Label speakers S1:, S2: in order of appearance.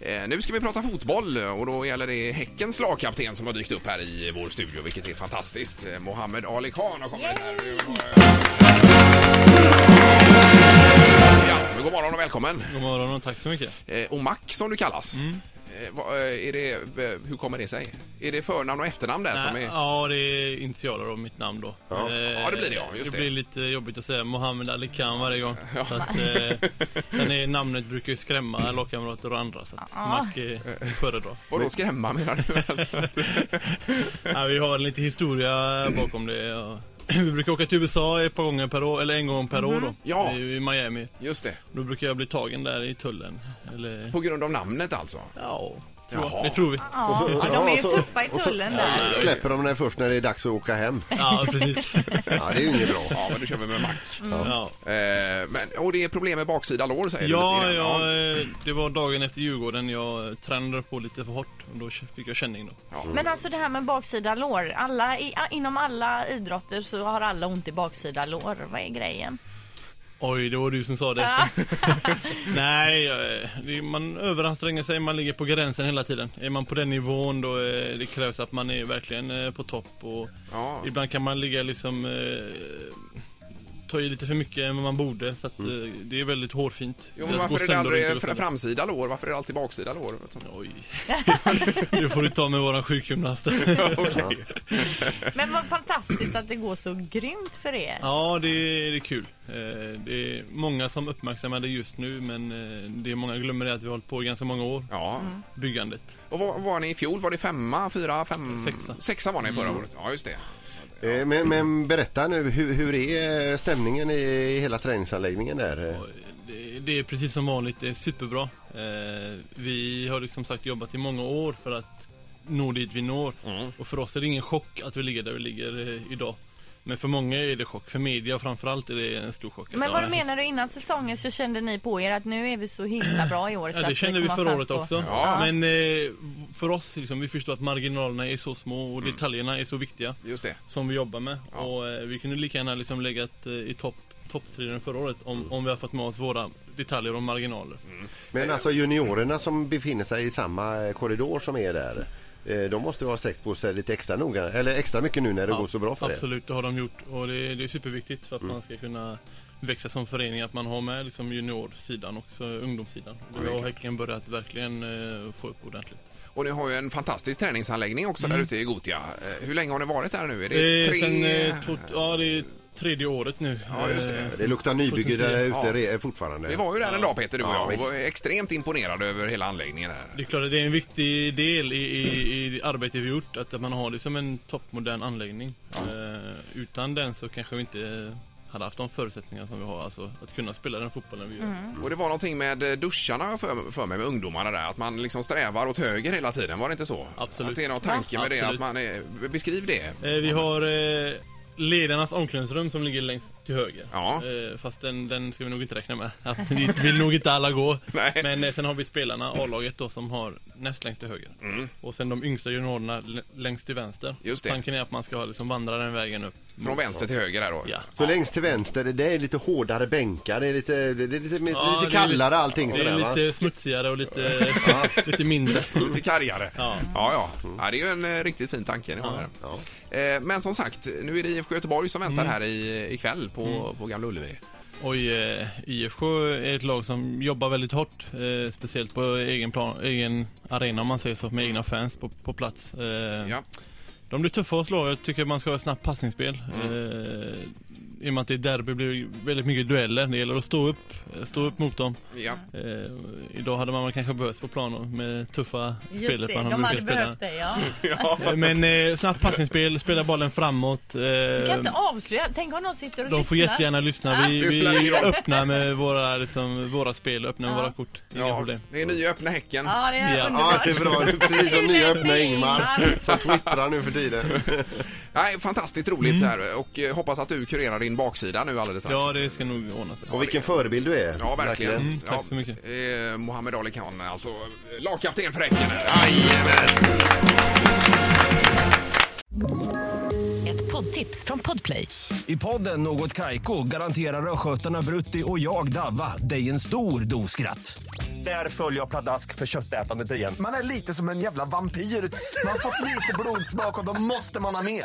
S1: Eh, Nu ska vi prata fotboll och då gäller det Häckens lagkapten som har dykt upp här i vår studio, vilket är fantastiskt. Eh, Mohammed Ali Khan har kommit här. Ja, men god morgon och välkommen.
S2: God morgon och tack så mycket.
S1: Eh, Och Mac som du kallas.
S2: Mm.
S1: Eh, vad, eh, Är det, eh, hur kommer det sig? Är det förnamn och efternamn där som
S2: Nej,
S1: är...
S2: Ja, det är initialer av mitt namn då.
S1: Ja.
S2: Eh,
S1: Ja, det blir det, ja, just
S2: det.
S1: det.
S2: blir lite jobbigt att säga Mohammed Ali Khan varje gång. Så att, eh, sen är, namnet brukar ju skrämma lagkamrater och andra så att
S3: Ja.
S2: Mac eh, föredrar.
S1: Vadå skrämma menar du? Alltså,
S2: Ja, vi har lite historia bakom det. Och vi brukar åka till USA ett par gånger per år, eller en gång per år då.
S1: Mm-hmm. Ja.
S2: Det är ju I Miami.
S1: Just det,
S2: Då brukar jag bli tagen där i tullen. Eller,
S1: på grund av namnet alltså.
S2: ja, tror jag.
S1: Jaha.
S2: det tror vi.
S3: Ja,
S4: så-
S3: ja,
S4: ja,
S3: de är ju
S4: så-
S3: tuffa i
S4: och så-
S3: tullen där.
S4: Så Släpper de den först när det är dags att åka hem.
S2: Ja, precis.
S4: Ja, det är ju inget bra.
S1: Ja, men då kör vi med Mac.
S2: Ja.
S1: Eh, Men, och det är problem med baksida lår säger du
S2: Ja,
S1: lite grann.
S2: ja, eh, det var dagen efter Djurgården jag eh, tränade på lite för hårt och då fick jag känning då.
S1: Ja.
S3: Men alltså det här med baksida lår. Alla, i, inom alla idrotter så har alla ont i baksida lår. Vad är grejen?
S2: Oj, det var du som sa det. Nej, eh, det- man överanstränger sig, man ligger på gränsen hela tiden. Är man på den nivån då eh, det krävs att man är verkligen eh, på topp och
S1: Ja.
S2: ibland kan man ligga liksom eh, ta i lite för mycket än vad man borde så att eh,
S1: Mm.
S2: det är väldigt hårfint.
S1: Jo,
S2: Att
S1: men
S2: gå
S1: varför är det
S2: sönder och inte
S1: aldrig
S2: gå
S1: fra-
S2: sönder.
S1: framsida lår? Varför är det alltid baksida lår?
S2: Oj, det får du ta med våran sjukgymnast.
S1: Okej.
S3: Men vad fantastiskt att det går så grymt för er.
S2: Ja, det är, det är kul. Eh, Det är många som uppmärksammar det just nu, men eh, det är många glömmer det att vi har hållit på i ganska många år,
S1: Ja.
S2: Mm. byggandet.
S1: Och vad var ni i fjol? Var det femma, fyra, fem?
S2: Sexa. Mm.
S1: Sexa var ni förra året. Ja, just det.
S4: Eh, Men, men berätta nu, hur, hur är stämningen i, i hela träningsanläggningen där?
S2: Och Det, det är precis som vanligt, det är superbra. Eh, Vi har liksom sagt jobbat i många år för att nå dit vi når. Och för oss är det ingen chock att vi ligger där vi ligger eh, idag. Men för många är det chock, för media framförallt är det en stor chock. att,
S3: Men
S2: ja,
S3: vad menar du innan säsongen så kände ni på er att nu är vi så himla bra i år så
S2: Ja,
S3: att
S2: det
S3: vi
S2: kände vi
S3: kommer ha
S2: förra
S3: chans
S2: året
S3: på-
S2: också.
S1: Ja.
S2: Men eh, för oss, liksom, vi förstår att marginalerna är så små och detaljerna är så viktiga.
S1: Just det.
S2: som vi jobbar med.
S1: Ja.
S2: Och eh, vi kunde lika gärna liksom legat eh, i topp toppstriden förra året om, om vi har fått med oss våra detaljer och marginaler.
S4: Men alltså juniorerna som befinner sig i samma korridor som är där. eh, De måste ju ha sträckt på sig lite extra noga, eller extra mycket nu när det går så bra för er.
S2: Absolut, det har de gjort och det, det är superviktigt för att man ska kunna växa som förening att man har med liksom juniorsidan också, ungdomssidan.
S1: det är
S2: Vi har
S1: klart.
S2: Häcken börjat verkligen eh, få upp ordentligt.
S1: Och ni har ju en fantastisk träningsanläggning också där ute i Gotia. Eh, Hur länge har ni varit där nu? Är det
S2: Det är
S1: tre?
S2: sen, Mm. eh, två, ja, det är tredje året nu.
S1: Ja, just det.
S2: Eh,
S4: Det luktar nybygge där ute
S1: Ja.
S4: re- fortfarande.
S1: Vi var ju där en dag Peter, du och
S4: Ja,
S1: jag, och
S4: visst.
S1: var extremt imponerade över hela anläggningen här.
S2: Det är klart att det är en viktig del i, i, i det arbete vi gjort, att man har det som en toppmodern anläggning. Eh, utan den så kanske vi inte hade haft de förutsättningar som vi har, alltså att kunna spela den fotbollen vi gör.
S1: Och det var någonting med eh, duscharna har jag för, för mig med ungdomarna där, att man liksom strävar åt höger hela tiden, var det inte så?
S2: Absolut.
S1: Att det är någon tanke med det, att
S2: Absolut.
S1: man är, beskriv det.
S2: Eh, vi har eh, ledarnas omklädningsrum som ligger längst till höger.
S1: Ja.
S2: Eh, fast den, den ska vi nog inte räkna med, att dit vill nog inte alla gå.
S1: Nej.
S2: Men eh, sen har vi spelarna, A-laget då, som har näst längst till höger. Och sen de yngsta juniorerna l- längst till vänster.
S1: Mm. Just det.
S2: Tanken är att man ska liksom vandra den vägen upp.
S1: Från vänster till höger här då?
S2: Ja.
S4: Så längst till vänster, det är lite hårdare bänkar, det är lite, det är lite, lite
S2: Ja, det är
S4: kallare
S2: lite-
S4: allting
S2: Det är
S4: sådär va?
S2: lite smutsigare och lite, lite mindre.
S1: Lite kargare. Ja,
S2: Ja. Mm.
S1: ja. ja. Det är ju en eh, riktigt fin tanke ni har här.
S4: Ja.
S1: Eh, Men som sagt, nu är det IFK Göteborg som väntar
S2: Mm.
S1: här i, eh, ikväll på, på Gamla Ullevi.
S2: Oj, eh, IFK är ett lag som jobbar väldigt hårt. Eh, speciellt på egen, plan, egen arena om man säger så, med egna fans på, på plats. Eh,
S1: Ja.
S2: De blir tuffa att slå. Jag tycker man ska ha ett snabbt passningsspel. Eh, I och med att det är derby blir det väldigt mycket dueller. Det gäller att stå upp, eh, stå upp mot dem.
S1: Ja.
S2: Eh, idag hade man väl kanske behövt på planen med tuffa spelet man har brukat spela.
S3: det ja.
S2: Eh, Men eh, snabbt passningsspel, spela bollen framåt. eh,
S3: Du kan inte avslöja, tänk om någon sitter och
S2: De får
S3: lyssnar.
S2: jättegärna lyssna. Vi,
S1: Det spelar ingen
S2: vi
S1: roll.
S2: öppnar med våra, liksom, våra spel, öppnar med
S3: Ja.
S2: våra kort. Inga
S1: ja,
S2: problem.
S1: det är nya öppna Häcken.
S3: Ja, det är
S2: Ja.
S3: underbart.
S4: Ja, det är bra. Det är precis som nya öppna Ingmar som twittrar nu för tiden.
S1: Nej, fantastiskt roligt här och eh, hoppas att du kurerar din baksida nu alldeles strax.
S2: Mm. Ja, det ska nog ordna sig.
S4: Och vilken förebild du är.
S1: Ja, verkligen.
S2: Mm, tack
S1: ja,
S2: så mycket.
S1: Eh, Mohammed Ali Khan, alltså eh, lagkapten för Häcken. Jajamän!
S5: Ett poddtips från Podplay.
S6: I podden Något Kaiko garanterar östgötarna Brutti och jag, Davva, dig en stor dos skratt. Där följer jag pladask för köttätandet igen.
S7: Man är lite som en jävla vampyr. Man har fått lite blodsmak och då måste man ha mer.